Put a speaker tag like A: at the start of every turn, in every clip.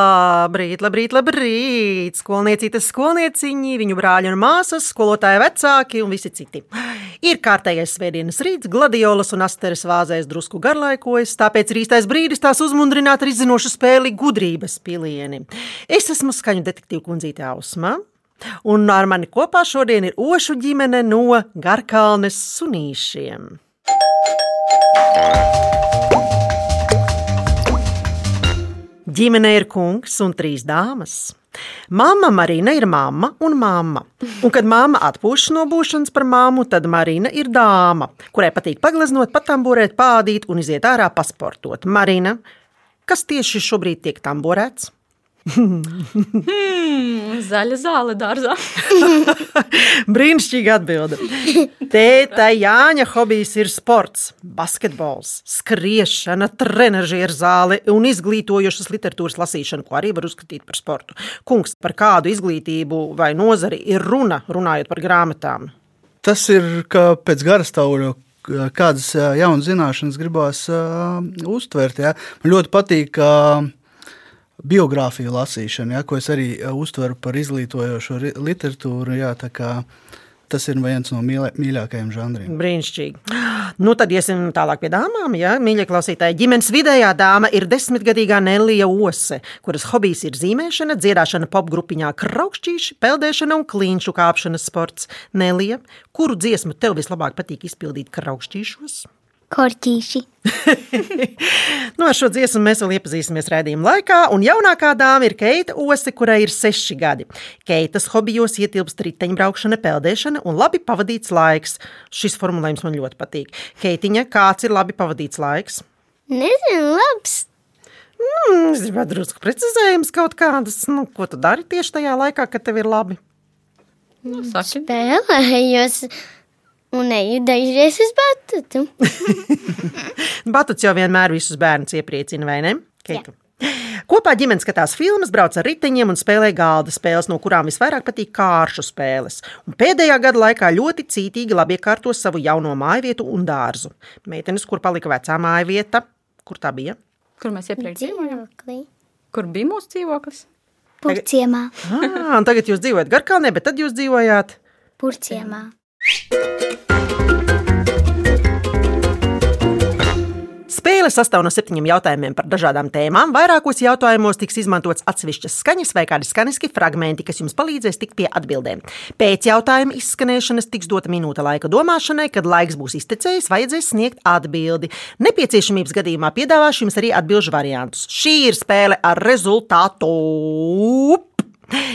A: Labrīt, labrīt, labrīt! Skolniecītes, skolnieciņi, viņu brāļi un māsas, skolotāja vecāki un visi citi. Ir kārtējais svētdienas rīts, gladiolas un asteres vāzēs drusku garlaikojas, tāpēc ir īstais brīdis tās uzmundrināt ar izzinošu spēli gudrības pilieni. Es esmu skaņu detektīva kundzīte Ausma. Un ar mani kopā šodien ir Ošu ģimene no Garkalnes sunīšiem. Ģimene ir kungs un trīs dāmas. Māma Marina ir mamma un mamma. Un, kad māma atpūšas no būšanas par māmu, tad Marina ir dāma, kurai patīk pagleznot, patamborēt, pādīt un iziet ārā pasportot. Marina, kas tieši šobrīd tiek tamborēts?
B: Mm, Zaļa zāle dārzā.
A: Brīnišķīga atbilde. Tēta Jāņa hobijs ir sports, basketbols, skriešana, trenižera zāle un izglītojošas literatūras lasīšana, ko arī var uzskatīt par sportu. Kungs, par kādu izglītību vai nozari ir runa, runājot par grāmatām?
C: Tas ir kā pēc gara stūra. Kādas ā, jaunas zināšanas gribās ā, uztvert? Jā. Man ļoti patīk ā, biogrāfiju lasīšana, jā, ko es arī ā, uztveru par izglītojošu ri- literatūru. Jā, tā kā tas ir viens no mīlē- mīļākajiem žanriem.
A: Brīnišķīgi. Nu, tad iesim tālāk pie dāmām. Ja? Mīļie klausītāji, ģimenes vidējā dāma ir desmitgadīgā Nelija Ose, kuras hobijs ir zīmēšana, dziedāšana popgrupiņā, kraukšķīši, peldēšana un klīņšu kāpšanas sports. Nelija, kuru dziesmu tev vislabāk patīk izpildīt kraukšķīšos?
D: Korķīši.
A: Nu, ar šo dziesmu mēs vēl iepazīsimies redzējuma laikā. Un jaunākā dāma ir Keita Ose, kurai ir seši gadi. Keitas hobijos ietilpst riteņbraukšana, peldēšana un labi pavadīts laiks. Šis formulējums man ļoti patīk. Keitiņa, kāds ir labi pavadīts laiks?
D: Nezinu, labs.
A: Mm, es gribētu drusku precizējumus kaut kādas. Nu, ko tu dari tieši tajā laikā, kad tev ir labi?
B: Nu, saki,
D: Spēlējos un eju dažreiz uz batutu.
A: Batuts jau vienmēr visus bērnus iepriecina, vai ne? Keita. Kopā ģimenes skatās filmas, brauc ar riteņiem un spēlē galda spēles, no kurām visvairāk patīk kāršu spēles. Un pēdējā gada laikā ļoti cītīgi labi iekārto savu jauno māju vietu un dārzu. Meitenes, kur palika vecā māja vieta, kur tā bija?
B: kur mēs iepriekš dzīvojām?
D: Dzīvoklī.
B: Kur bija mūsu dzīvoklis?
D: Purciemā.
A: Ah, un tagad jūs dzīvojat Garkalnē, bet tad jūs dzīvojāt
D: Purciemā.
A: Spēle sastāv no septiņiem jautājumiem par dažādām tēmām. Vairākos jautājumos tiks izmantots atsevišķas skaņas vai kādi skaniski fragmenti, kas jums palīdzēs tikt pie atbildēm. Pēc jautājuma izskanēšanas tiks dota minūte laika domāšanai, kad laiks būs iztecējis, vajadzēs sniegt atbildi. Nepieciešamības gadījumā piedāvāšu jums arī atbildžu variantus. Šī ir spēle ar rezultātu.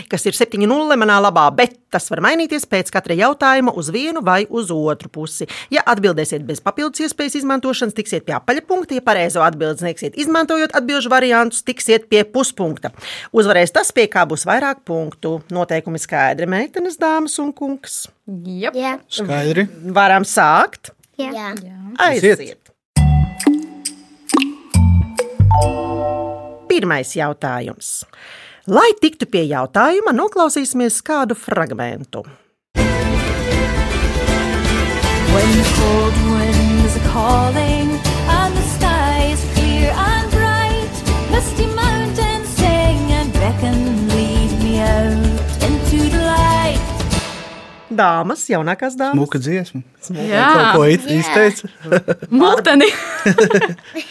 A: Kas ir 7,0 manā labā, bet tas var mainīties pēc katra jautājuma uz vienu vai uz otru pusi. Ja atbildēsiet bez papildus iespējas izmantošanas, tiksiet pie apaļa punkta, ja pareizo atbildi sniegsiet, izmantojot atbildžu variantus, tiksiet pie puspunkta. Uzvarēs tas, pie kā būs vairāk punktu. Noteikumi skaidri, meitenes, dāmas un kungs.
B: Jā,
D: Jā,
C: Skaidri.
A: Varam sākt!
D: jā. jā.
C: Aiziet.
A: Aiziet! Pirmais jautājums. Lai tiktu pie jautājuma, noklausīsimies kādu fragment.
E: When the cold winds are calling and the sky is clear and bright, misty mountains sing and beckon, lead me out into the light.
A: Dāmas, jaunākās dāmas,
C: Muka dziesma. Kaut
B: jā.
C: ko it- izteica?
B: mūteni.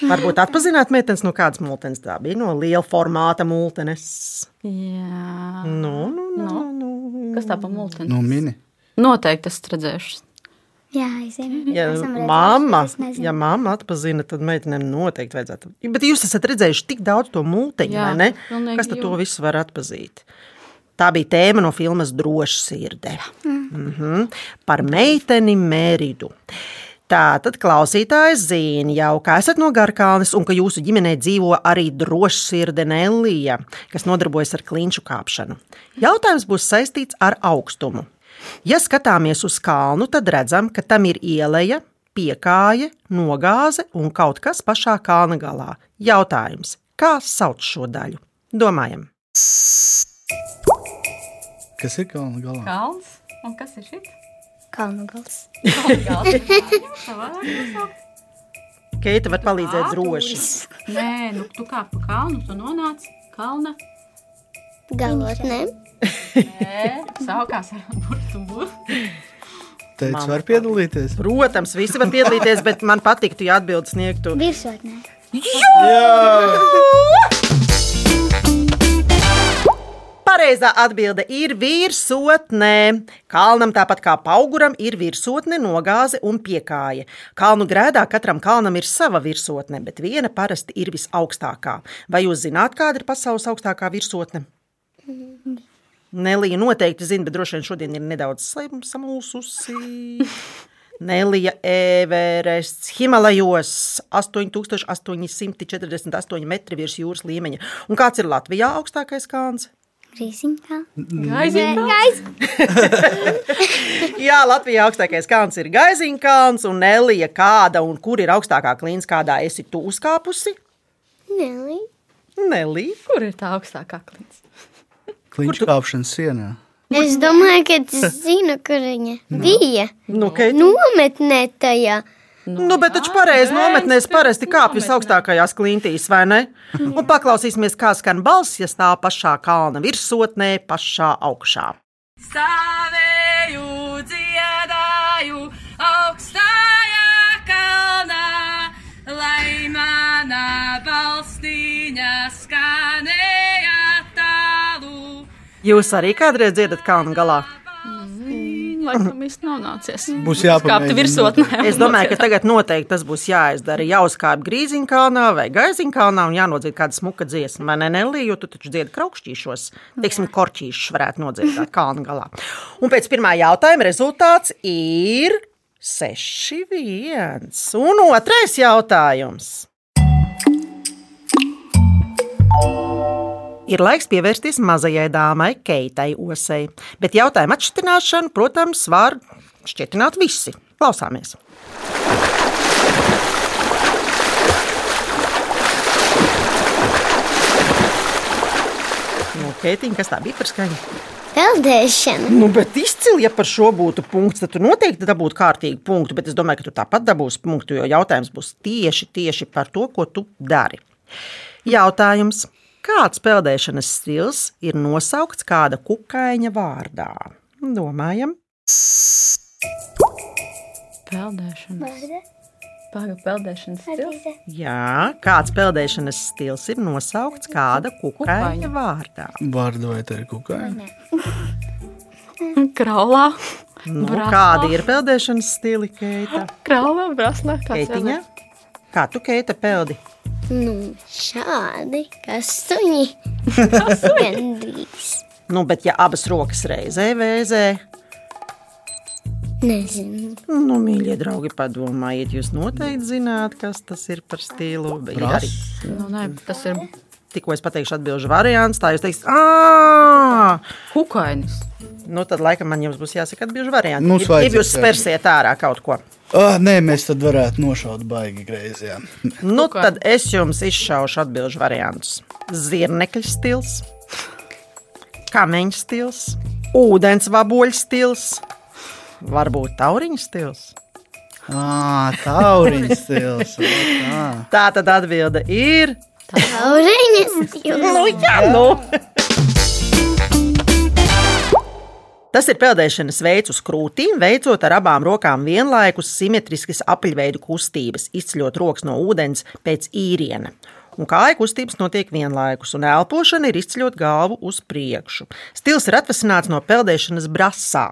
A: varbūt atpazīstināt meitenes no kādas multenes. Tā bija no liela formāta multenes.
B: jā.
A: Nu, nu, nu,
B: Nu.
A: nu, nu.
B: Kas tā pa mūteni?
C: Nu, mini.
B: Noteikti es redzēšu.
D: jā es zinu.
A: Ja
D: Esam redzējuši,
A: mamma,
D: es nezinu.
A: ja mamma atpazina, tad meitenēm noteikti vajadzētu. Bet jūs esat redzējuši tik daudz to mūteņu,
B: Jā,
A: vai ne?
B: pilnīgi
A: Kas tad to
B: jūtu.
A: visu var atpazīt? Tā bija tēma no filmas Droša sirde. Mm -hmm. Par meiteni Meridu. Tātad klausītājs zina jau, ka esat no Garkalnes un ka jūsu ģimenē dzīvo arī drošsirdē Nelija, kas nodarbojas ar klinšu kāpšanu. Jautājums būs saistīts ar augstumu. Ja skatāmies uz kalnu, tad redzam, ka tam ir ieleja, piekāja, nogāze un kaut kas pašā kalna galā. Jautājums, kā sauc šo daļu? Domājam,
C: Kas ir kalna galā?
B: Kalns. Un kas ir šis?
D: Kalnugals.
A: Keita var palīdzēt
B: Ā,
A: droši.
B: Nē, nu tu kā pa kalnu, tu nonāc kalna
D: galotnē.
B: Sākās ar burbuļsaktas burbuļu.
C: Teicu, var piedalīties.
A: Protams, visi var piedalīties, bet man patiktu, ja atbildi sniegtu.
D: Virsotnē.
A: Pareizā atbilde ir virsotnē. Kalnam, tāpat kā auguram, ir virsotne, nogāze un piekāja. Kalnu grēdā katram kalnam ir sava virsotne, bet viena parasti ir visaugstākā. Vai jūs zināt, kāda ir pasaules augstākā virsotne? Nelija noteikti zina, bet droši vien šodien ir nedaudz slēm- samulsusi. Nelija Everests Himalajos 8848 metri virs jūras līmeņa. Un kāds ir Latvijā augstākais kalns?
D: Rīziņā.
B: Gaiziņā.
A: Jā, Latvijā augstākais kalns ir Gaiziņa kalns un Nelija. Kāda un kur ir augstākā klīns, kādā esi tu uzkāpusi?
D: Nelī.
A: Nelija.
B: Kur ir tā augstākā kliņa?
C: Kliņķa kāpšanas sienā.
D: Es domāju, ka es zinu, kur viņa bija.
A: Nu, okay. nu,
D: Nometnē tajā.
A: nu, bet taču pareizi nometnēs parasti kāp visaugstākajās klīntīs, vai ne? Un paklausīsimies, kā skan balss, ja stāv pašā kalna virsotnē, pašā augšā.
E: Stāvēju, dziedāju augstajā kalnā, lai manā balstīņā skanēja tālu.
A: Jūs arī kādreiz dziedat kalnu galā?
B: Laikam īsti nav nācies.
C: Būs jāpamēģina.
B: Kāpta virsotnē.
A: Es domāju, ka tagad noteikti tas būs jāizdara. Jāuzkāpj grīziņkānā vai gaiziņkānā un jānodzied kāda smuka dziesma. Man nelī, jo tu taču dziedi kraukšķīšos, teiksim, korķīšus varētu nodziedāt kalna galā. Un pēc pirmā jautājuma rezultāts ir 6-1. Un otrais jautājums. Ir laiks pievērsties mazajai dāmai, Keitai Osei. Bet jautājumu atšķirināšanu, protams, var šķietināt visi. Klausāmies! Nu, Keitiņ, kas tā bija par skaņu?
D: Peldēšana.
A: Nu, bet izcili, ja par šo būtu punkts, tad tu noteikti dabūtu kārtīgu punktu. Bet es domāju, ka tu tāpat dabūsi punktu, jo jautājums būs tieši, tieši par to, ko tu dari. Jautājums. Kāds peldēšanas stils ir nosaukts kāda kukaiņa vārdā? Domājam,
B: Peldēšana. Paga peldēšanas stils.
A: jā, kāds peldēšanas stils ir nosaukts kāda kukaiņa
B: Kukaiņa.
A: vārdā?
C: Vārdu vai tā ir kukaini?
B: Kraulā.
A: Nu, kādi ir peldēšanas stili, Keita?
B: Kraulā, braslā. kāds vēl
A: Keitiņa?
B: ir?
A: Kā tu, Keita, peldi?
D: Nu, šādi. Kas suņi? Gandrīz.
A: Nu, bet ja abas rokas reizē vēzē,
D: Nezinu.
A: Nu, mīļie draugi, padomājiet, jūs noteikti zināt, kas tas ir par stilu. Bet ir arī-
B: Nu, nē, tas ir
A: Tikko es pateikšu, atbildēšu variants, tā jūs teiksiet, ah!
B: kukainis.
A: Nu, tad laikam man jums būs jāsaka atbildēšu variants.
C: Mums
A: ja
C: vajadzēs,
A: jūs spērsiet ārā kaut ko.
C: Ah, nē, mēs tad varētu nošaut baigi greizi. jā.
A: Nu, tad es jums izšaušu atbildēšu variantus. Zirnekļa stils, kameņa stils, ūdens vaboļu stils, varbūt tauriņa stils.
C: Ā, tauriņš stils. ā, tā.
A: Tā tad atbilde ir
D: Tauriņas
A: Nu,
D: jūs.
A: jā, nu. Tas ir peldēšanas veids uz krūtīm, veicot ar abām rokām vienlaikus simetriskas apaļveidu kustības, izceļot rokas no ūdens pēc īriena. Un kāja kustības notiek vienlaikus, un elpošana ir izceļot galvu uz priekšu. Stils ir atvasināts no peldēšanas brasā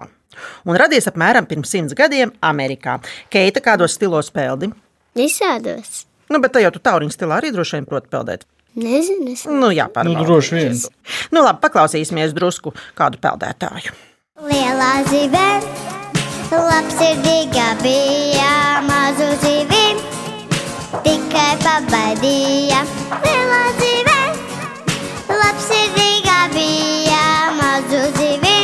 A: un radies apmēram pirms simts gadiem Amerikā. Keita, kādos stilos peldi?
D: Visādos.
A: Nu, bet tajā tu tauriņu stilā arī droši vien prot peldēt.
D: Nezinu. Es...
A: Nu, jā,
C: Nu,
A: pārbaudīt.
C: droši vien.
A: Nu, labi, paklausīsimies drusku kādu peldētāju.
D: Lielā zivē, labsirdīga bija mazu zivi, tikai pabaidīja. Lielā zivē, labsirdīga bija mazu zivi,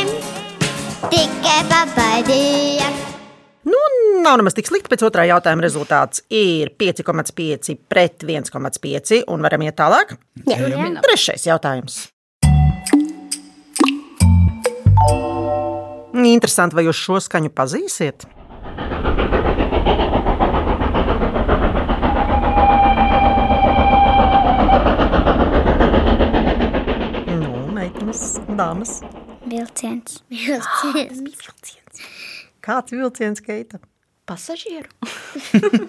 D: tikai pabaidīja.
A: Nu, nav nemaz tik slikti. Pēc otrā jautājuma rezultāts ir 5,5 pret 1,5. Un varam iet tālāk.
D: Jā,
A: Trešais jautājums. Interesanti, vai jūs šo skaņu pazīsiet? Nu, meitenes. Dāmas,
D: Vilciens. Vilciens.
A: kāds vilciens keita?
B: Pasažieru.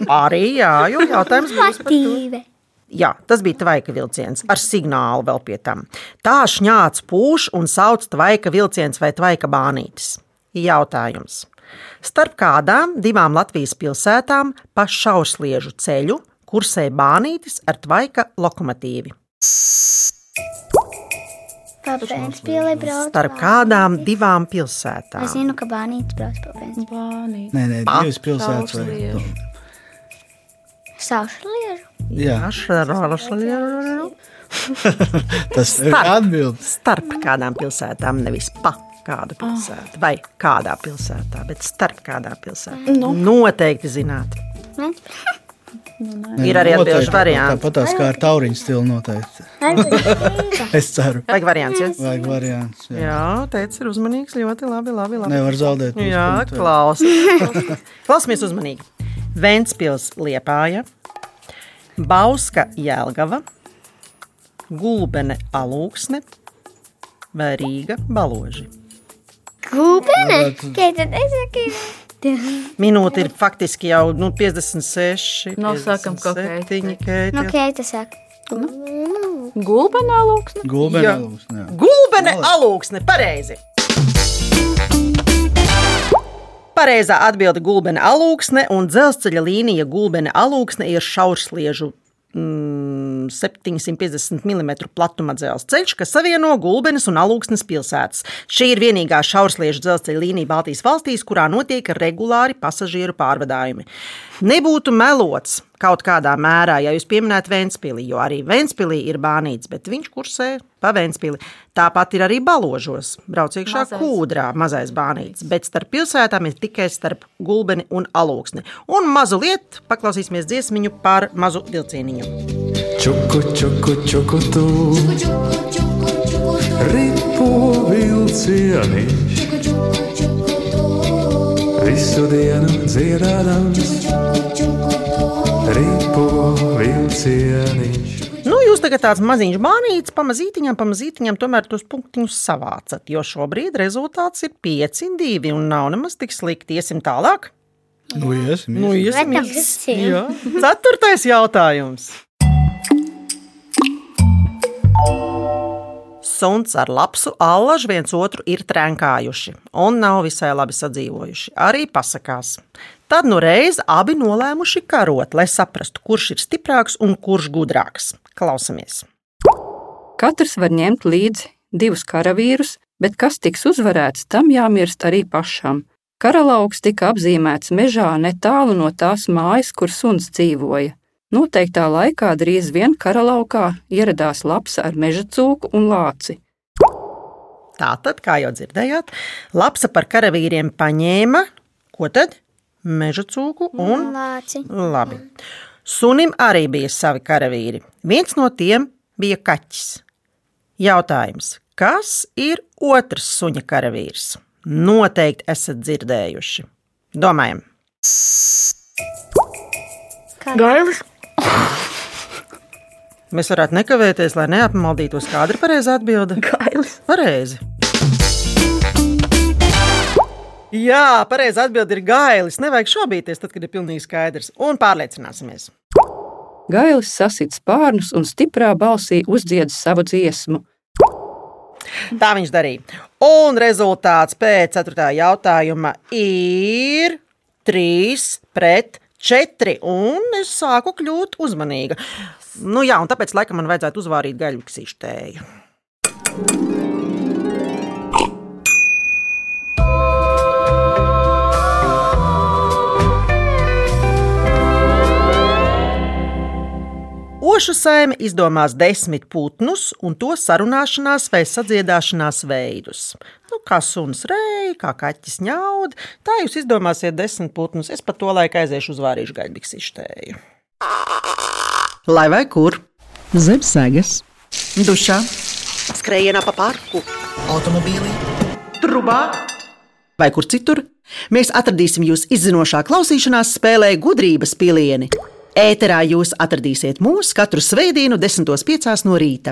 A: Arī jā, jo jautājums būs par to.
D: Patīve.
A: Jā, tas bija tvaika vilciens ar signālu vēl pie tam. Tā šņāts pūš un sauc tvaika vilciens vai tvaika bānītis. Jautājums. Starp kādām divām Latvijas pilsētām pa šausliežu ceļu kursē bānītis ar tvaika lokomotīvi?
D: Papēns pielai brauc.
A: Starp kādām divām
D: Es
A: pilsētām?
D: zinu, ka bānītis brauc papēns.
B: Bānīt.
C: Nē, nē, divas pilsētas. vai-
B: Sausliežu.
D: Saušu liežu.
C: Jā,
A: Šausliežu.
C: tas ir
A: Starp.
C: atbildes.
A: Starp kādām pilsētām, nevis pa kādu pilsētu, vai kādā pilsētā, bet starp kādā pilsētā. Nu. Noteikti zināt.
D: Viens
A: Ir arī atbildīgs variants.
C: Tāpat tās kā ar tauriņu stilu noteikti.
D: Varbūt
C: Es ceru,
A: Vajag variants. Ja?
C: vajag variants. Jā.
A: Jā, teicis, ir uzmanīgs. Ļoti labi, labi. labi.
C: Nevar zaudēt. visu
A: Jā,
C: punktu.
A: klausies. Klausamies uzmanīgi. Ventspils liepāja, Bauska jēlgava, Gulbene alūksne vai Rīga baloži.
D: Gūbene. Keita, es saku.
A: Minūte ir faktiski jau nu, 56.
B: Nosākam kaut
D: Nu,
A: kā.
D: Keita saka.
B: Gulbenā lūksne.
A: Jā.
C: Gulbenelūks. jā.
A: Gulbene alūksne, pareizi! Pareizā atbilde - gulbene alūksne un dzelzceļa līnija gulbene alūksne ir šaursliežu. mm, 750 mm platuma dzelzceļš, kas savieno Gulbenes un Alūksnes pilsētas. Šī ir vienīgā šaursliežu dzelzceļa līnija Baltijas valstīs, kurā notiek regulāri pasažieru pārvadājumi. Nebūtu melots kaut kādā mērā, ja jūs pieminētu Vēnspili, jo arī Vēnspilī ir bānīts, bet viņš kursē pa Vēnspili. Tāpat ir arī Baložos, brauc iekšā
B: Mazais.
A: kūda. Gudrā mazais bānītis, bet starp pilsētām ir tikai starp gulbeni un alūksni. Un mazu lietu paklausīsimies dziesmiņu par mazu vilcieniņu.
F: Čuku, čuku, čuku, tu ripo vilcieni. Visu dienu dziedādams ripo vilcieniņš.
A: Nu, jūs tagad tāds maziņš bānītis, pamazītiņam, pamazītiņam, tomēr tos punktiņus savācat, jo šobrīd rezultāts ir 5, 2 un nav nemaz tik slikti. Iesim tālāk.
C: Nu, iesim,
A: Nu,
C: iesim.
A: iesim,
D: Protams,
A: iesim.
D: iesim.
A: Jā. Ceturtais jautājums. Suns ar lapsu allaž viens otru ir trenkājuši un nav visai labi sadzīvojuši. Arī pasakās. Tad nu reiz abi nolēmuši karot, lai saprastu, kurš ir stiprāks un kurš gudrāks. Klausamies!
G: Katrs var ņemt līdzi divus karavīrus, bet kas tiks uzvarēts, tam jāmirst arī pašam. Karalauks tika apzīmēts mežā netālu no tās mājas, kur suns dzīvoja. Noteiktā laikā drīz vien karalaukā ieradās laps ar meža cūku un lāci.
A: Tātad, kā jau dzirdējāt, lapsa par karavīriem paņēma ko tad? Meža cūku un
D: Lāci.
A: Labi. Sunim arī bija savi karavīri. Viens no tiem bija kaķis. Jautājums, kas ir otrs suņa karavīrs? Noteikti esat dzirdējuši. Domājam,
B: Gailis.
A: mēs varētu nekavēties, lai neapmaldītos, kāda ir pareizā atbilde.
B: Gailis.
A: Pareizi. Jā, pareizi atbild ir gailis. Nevajag šaubīties, tad, kad ir pilnīgi skaidrs. Un pārliecināsimies.
G: Gailis sasita spārnus un stiprā balsī uzdzied savu dziesmu.
A: Tā viņš darīja. Un rezultāts pēc 4. jautājuma ir 3 pret 4. Un es sāku kļūt uzmanīga. Nu, jā, un tāpēc laikam man vajadzētu uzvārīt gaļbuksīšu tēju. Ošu saime izdomās desmit putnus un to sarunāšanās vai sadziedāšanās veidus. Nu, kā suns reja, kā kaķis ņaud, tā jūs izdomāsiet desmit putnus. Es pa to laiku aiziešu uz vārīšu gaļbiksīšu tēju. Lai vai kur? Zem sēgas, dušā, skrejienā pa parku, automobīlī, trubā vai kur citur, mēs atradīsim jūs izzinošā klausīšanās spēlē gudrības pilieni. Ēterā jūs atradīsiet mūs katru svētdienu, 10.5. no rīta.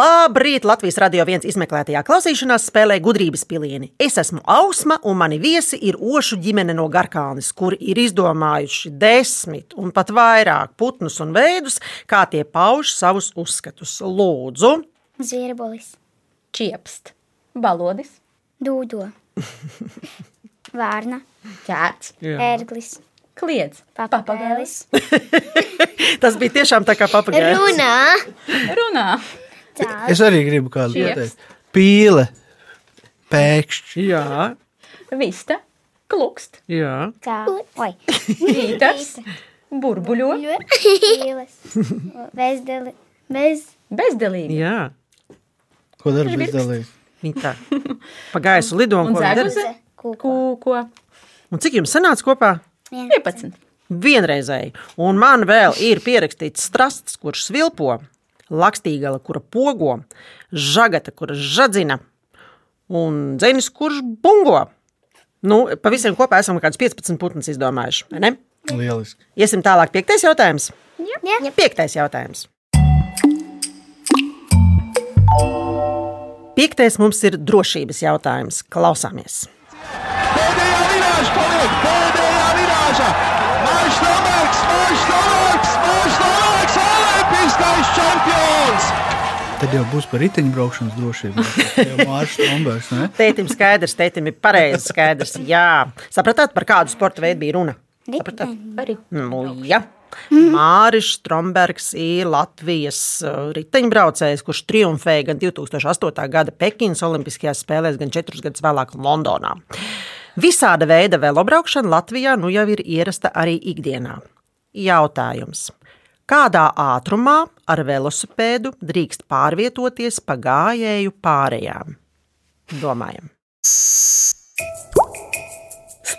A: Labrīt! Latvijas radio viens izmeklētajā klausīšanās spēlē gudrības pilieni. Es esmu Ausma, un mani viesi ir Ošu ģimene no Garkānes, kuri ir izdomājuši desmit un pat vairāk putnus un veidus, kā tie pauž savus uzskatus. Lūdzu,
D: Zvirbolis,
B: Čiepst, balodis,
D: dūdo, vārna,
B: ķērts,
D: ērglis,
B: kliedz,
D: papagailis,
A: tas bija tiešām tā kā papagailis.
D: runā,
B: runā.
D: cēlis,
C: Es arī gribu kādu
B: Šieps.
C: pateikt. Pīle, pēkšķi,
A: Jā,
B: Vista, klukst,
A: jā.
D: kā, oi,
B: rītas, burbuļo,
D: pīles, bezdeli, bez,
B: bezdelīgi.
A: jā.
C: ko darbu izdalīt.
A: Viņa tā pa gaisu lido un
B: Un
A: ko viņa dara.
B: zēguze,
D: kūko,
B: kūko,
A: Un cik jums sanāca kopā?
B: 11.
A: Vienreizēji, un man vēl ir pierakstīts strasts, kurš svilpo, lakstīgala, kura pogo, žagata, kura žadzina, un dzinis, kurš bungo. Nu, pavisam kopā esam kaut kādus 15 putnus izdomājuši. vai ne?
C: Lieliski.
A: Iesim tālāk. Piektais jautājums.
D: Jā.
A: Piektais jautājums. Piektais mums ir drošības jautājums. Klausāmies!
H: Pēdējā virāža paliek, pēdējā virāža. Mārš Novaks, Mārš Novaks, Mārš Novaks, olimpiskais čempions!
C: Tad jau būs par riteņbraukšanas drošību. Jau Mārš Tombergs, ne?
A: Tētim skaidrs, tētim ir pareizi skaidrs. Jā, sapratāt, par kādu sporta veidu bija runa? Sapratāt? Nu, jā. Māris Strombergs ir Latvijas uh, riteņbraucējs, kurš triumfēja gan 2008. gada Pekinas Olimpiskajās spēlēs, gan četrus gadus vēlāk Londonā. Visāda veida velobraukšana Latvijā nu jau ir ierasta arī ikdienā. Jautājums. Kādā ātrumā ar velosipēdu drīkst pārvietoties pa gājēju pārējām? Domājam.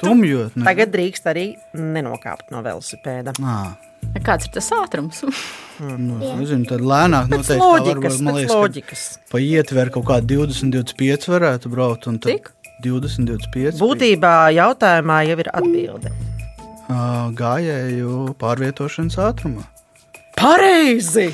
C: Stumjot, ne?
A: Tagad drīkst arī nenokāpt no velosipēda.
C: Nā,
B: Kāds ir tas ātrums?
C: nu, es nezinu, tad lēnāk
A: Pēc
C: noteikti. kā
A: loģikas,
C: varbūt, man
A: pēc
C: liekas, ka
A: loģikas.
C: Pa ietveru kaut kādu 20, 25 varētu braukt. un tad
B: Cik?
C: 20, 25.
A: Būtībā jautājumā jau ir atbilde.
C: Uh, gājēju pārvietošanas ātrumā.
A: Pareizi!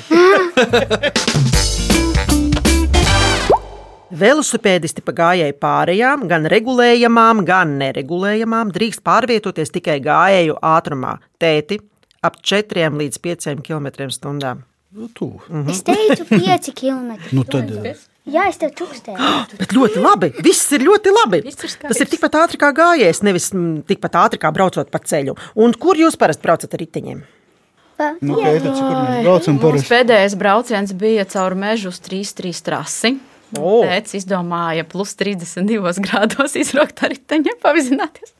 A: Velosipēdisti pa gājēju pārējām, gan regulējamām, gan neregulējamām, drīkst pārvietoties tikai gājēju ātrumā, tēti ap 4 līdz 5 km/h.
C: Nu, tu.
A: Mhm.
D: es teicu pieci kilometri.
C: Nu, tad, uh,
D: Jā, es tev čukstēju.
A: Bet ļoti labi. Viss ir ļoti labi.
B: Viss ir skaidrs.
A: Tas ir tikpat ātri kā gājējis, nevis mm, tikpat ātri kā braucot pa ceļu. Un kur jūs parasti braucat ar riteņiem?
C: nu, okay, tad, kur mēs
A: nu,
C: braucam
I: Mums
C: parasti?
I: pēdējais brauciens bija caur mežu uz 3-3 trasi.
A: O.
I: Pēc izdomāja, plus 32 grādos izrakt arī teņa pavizināties.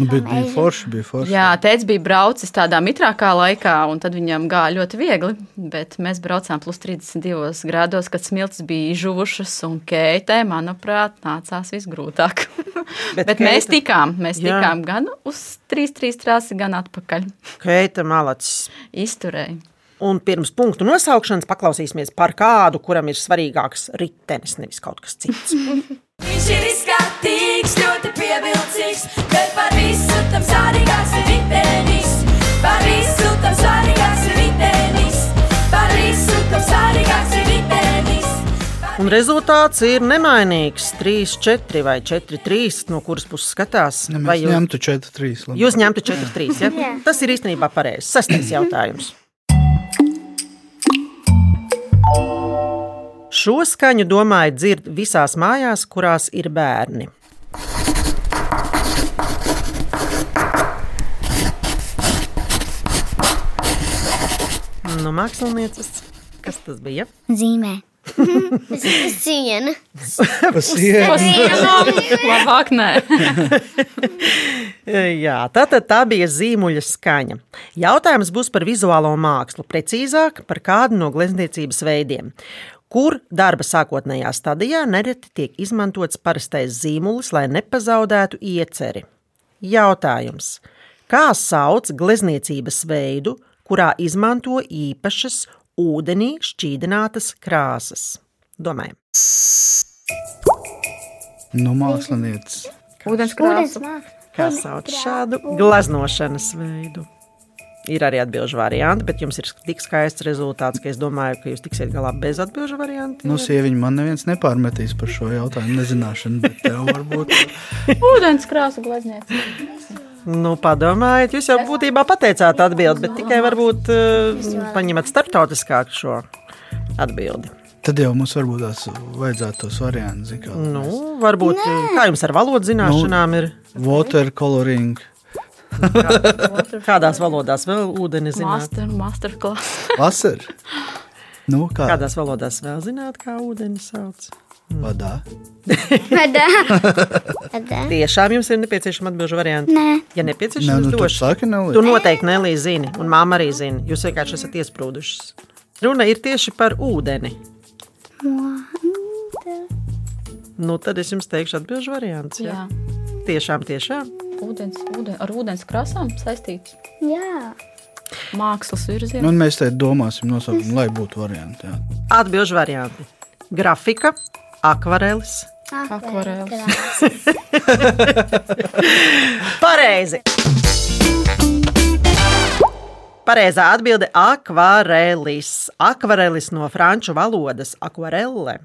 C: Nu, bet bija forši, bija forši.
I: Jā, tēvs bija braucis tādā mitrākā laikā, un tad viņam gāja ļoti viegli. Bet mēs braucām plus 32 grādos, kad smilts bija izžuvušas, un keitē, manuprāt, nācās visgrūtāk.
A: Bet
I: bet bet mēs
A: keita-
I: tikām, mēs
A: Jā.
I: tikām gan uz 3-3 trasi, gan atpakaļ.
A: Keita malacis.
I: Izturēji.
A: Un pirms punktu nosaukšanas paklausīsimies par kādu, kuram ir svarīgāks ritenis, nevis kaut kas cits.
E: Viņš ir izskatīgs, ļoti pievilcīgs, bet par visu tam svarīgāks ir ritenis. Par visu tam svarīgāks ir ritenis. Par visu tam svarīgāks ir ritenis.
A: Un rezultāts ir nemainīgs. 3, 4 vai 4, 3. No kuras puses skatās?
C: Ne,
A: Vai
C: mēs
A: jūs,
C: ņemtu 4, 3. Labi.
A: jūs ņemtu 4, 3? Ja?
D: Jā.
A: Tas ir īstenībā pareizs. Sastais jautājums. Šo skaņu, domāju, dzird visās mājās, kurās ir bērni. No Nu, mākslinieces, kas tas bija?
D: Zīmē. Siena.
C: Tas ir
I: Labāk nē.
A: Eh, Jā, tā, tad tā bija zīmuļa skaņa. Jautājums būs par vizuālo mākslu, precīzāk par kādu no glezniecības veidiem, kur darba sākotnējā stadijā nereti tiek izmantots parastais zīmulis, lai nepazaudētu ieceri. Jautājums: kā sauc glezniecības veidu, kurā izmanto īpašas ūdenī šķīdinātas krāsas? Domājam,
C: nu, mākslinieks.
I: Ūdens
D: Ūdens māksla.
A: kā sauc šādu gleznošanas veidu? Ir arī atbildžu varianti, bet jums ir tik skaists rezultāts, ka es domāju, ka jūs tiksiet galā bez atbildžu varianta.
C: Nu, sieviņa man neviens nepārmetīs par šo jautājumu, nezināšanu, bet tev varbūt.
I: Ūdens krāsa glazniecība.
A: Nu, padomājiet, jūs jau būtībā pateicāt atbildi, bet tikai varbūt eh, paņemat starptautiskāku šo atbildi.
C: Tad jau mums varbūt tās vajadzētu tos variantus, zin kā.
A: Nu, varbūt, kā jums ar valodas
C: Nu.
A: zināšanām ir?
C: Water coloring,
A: Kādās valodās vēl ūdeni zināt?
I: Master, masterclass.
C: laser. Nu, kā Kādā?
A: Kādās valodās vēl zināt, kā ūdeni sauc?
C: vadā?
D: Vadā. Vadā.
A: Tiešām jums ir nepieciešama atbildžu varianta.
D: Nē.
A: Ja
C: Nē,
A: nepieciešams,
C: nu, tu
A: došu.
C: saki,
A: Tu
C: nelīdz.
A: noteikti Nelija zini, un māma arī zina. Jūs vienkārši esat iesprūdušas. Runa ir tieši par ūdeni. Nu, tad es jums teikšu, atbildžu variants. Jā.
I: Jā,
A: Tiešām, tiešām.
I: ūdens, ūdens, ar ūdens krāsām saistīts
D: Jā.
I: mākslas virziens.
C: Nu, Un mēs te domāsim nosaukumu, lai būtu varianti. Jā.
A: Atbildžu varianti. Grafika, akvarelis.
I: Akvarēls.
A: Pareizi! Pareizā atbilde - akvarelis. Akvarelis no franču valodas - akvarelle.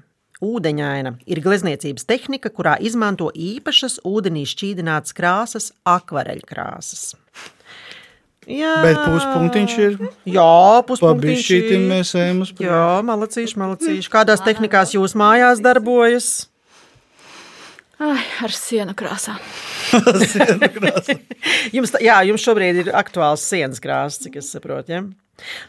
A: Ūdeņaina ir glezniecības tehnika, kurā izmanto īpašas ūdenī šķīdinātas krāsas, akvareļkrāsas. Jā,
C: Bet puspunktiņš ir.
A: Jā,
C: Labi,
A: puspunktiņš
C: šī
A: Ah. ir.
C: mēs ejam uz priekšu.
A: Jā, malacīši, malacīši. Kādās tehnikās jūs mājās darbojas?
I: Ai, ar sienu krāsām.
A: Jums, tā- jā, jums šobrīd ir aktuāls sienas krāsa, cik es saprotu. Ja?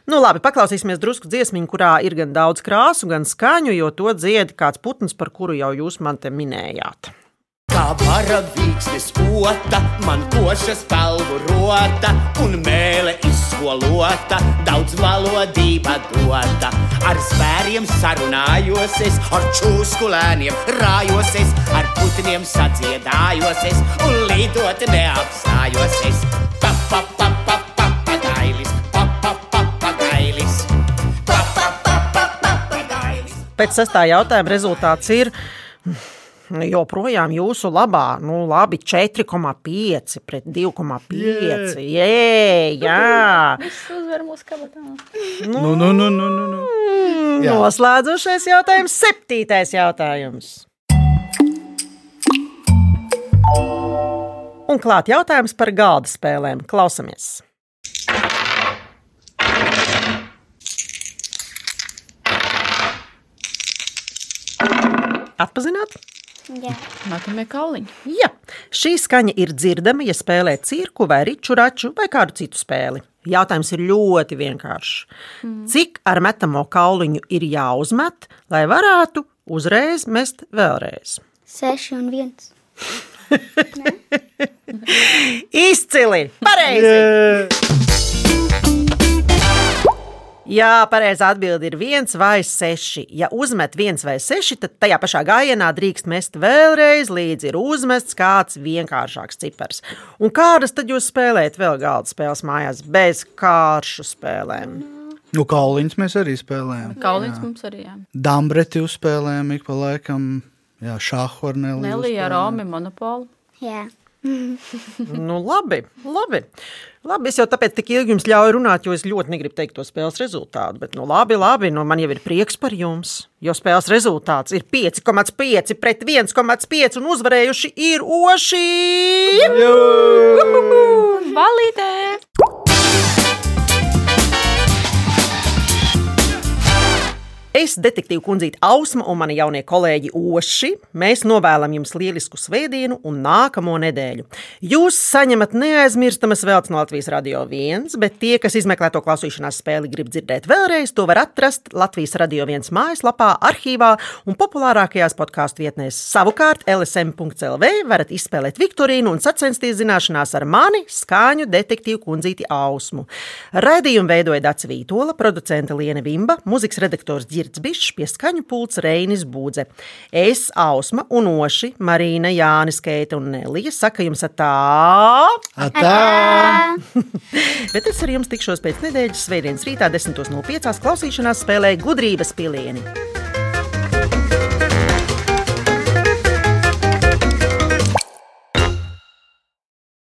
A: Nu, labi, paklausīsimies drusku dziesmiņu, kurā ir gan daudz krāsu, gan skaņu, jo to dziedā kāds putns, par kuru jau jūs man te minējāt.
J: Kā varavīksnes ota, man košas pelnu rota un mēlē izskolota, daudz valodība dota. Ar zvēriem sarunājos, es ar čūskulēniem rājos, es ar putniem sadziedājos, es un lidot neapstājos. Es. Pa, pa, pa, pa, pa, papagailis, pa, pa, pa, papagailis. Pa, pa, pa, pa, papagailis.
A: Pēc sestā jautājuma rezultāts ir mm, joprojām jūsu labā. Nu, labi, 4,5 pret 2,5. Jē, jā,
I: Viss uzvar mūsu kabatā.
C: Nu, nu, nu, nu, nu, nu. Jā.
A: noslēdzošais jautājums, septītais jautājums. Un klāt jautājums par galda spēlēm. Klausamies! Atpazināt?
D: Jā.
I: Matamie kauliņi.
A: Jā, šī skaņa ir dzirdama, ja spēlē cirku vai riču raču vai kādu citu spēli. Jautājums ir ļoti vienkāršs. Mm. Cik ar metamo kauliņu ir jāuzmet, lai varētu uzreiz mest vēlreiz?
D: Seši un viens.
A: Izcili! Pareizi! Jā, pareizā atbilde ir viens vai seši. Ja uzmet viens vai seši, tad tajā pašā gājienā drīkst mest vēlreiz, līdz ir uzmests kāds vienkāršāks cipars. Un kādas tad jūs spēlējat vēl galda spēles mājās bez kāršu spēlēm?
C: Nu, kauliņus mēs arī spēlējam.
I: Kauliņš mums arī jā.
C: Dambreti uzspēlējam ik pa laikam. Jā, šāhu ar Neliju.
I: Nelija ar Romi monopolu.
D: Jā.
A: Nu, labi, labi. labi. Es jau tāpēc tik ilgi jums ļauju runāt, jo es ļoti negribu teikt to spēles rezultātu. Bet, nu, labi, labi nu, man jau ir prieks par jums. Jo spēles rezultāts ir 5,5 pret 1,5 un uzvarējuši ir oši!
I: Balītē!
A: Es, detektīva kundzīte Ausma un mani jaunie kolēģi Oši, mēs novēlam jums lielisku svētdienu un nākamo nedēļu. Jūs saņemat neaizmirstamas vēlts no Latvijas radio viens, bet tie, kas izmeklē to klausīšanās spēli, grib dzirdēt vēlreiz, to var atrast Latvijas radio viens mājaslapā, arhīvā un populārākajās podkāstu vietnēs. Savukārt lsm.lv varat izspēlēt Viktorīnu un sacensties zināšanās ar mani, skāņu detektīvu kundzīti Ausmu. Radījumu veidoja Dārts Vītola, producente Liene Vimba, mūzikas redaktors Girts Bišs, pieskaņu pults Reinis Būdze. Es, Ausma un Oši, Marīna, Jānis Keita un Nelija, saka jums tā,
C: Atā!
A: bet es ar jums tikšos pēc nedēļas, svētdienas rītā, 10.05. klausīšanās spēlē gudrības pilieni.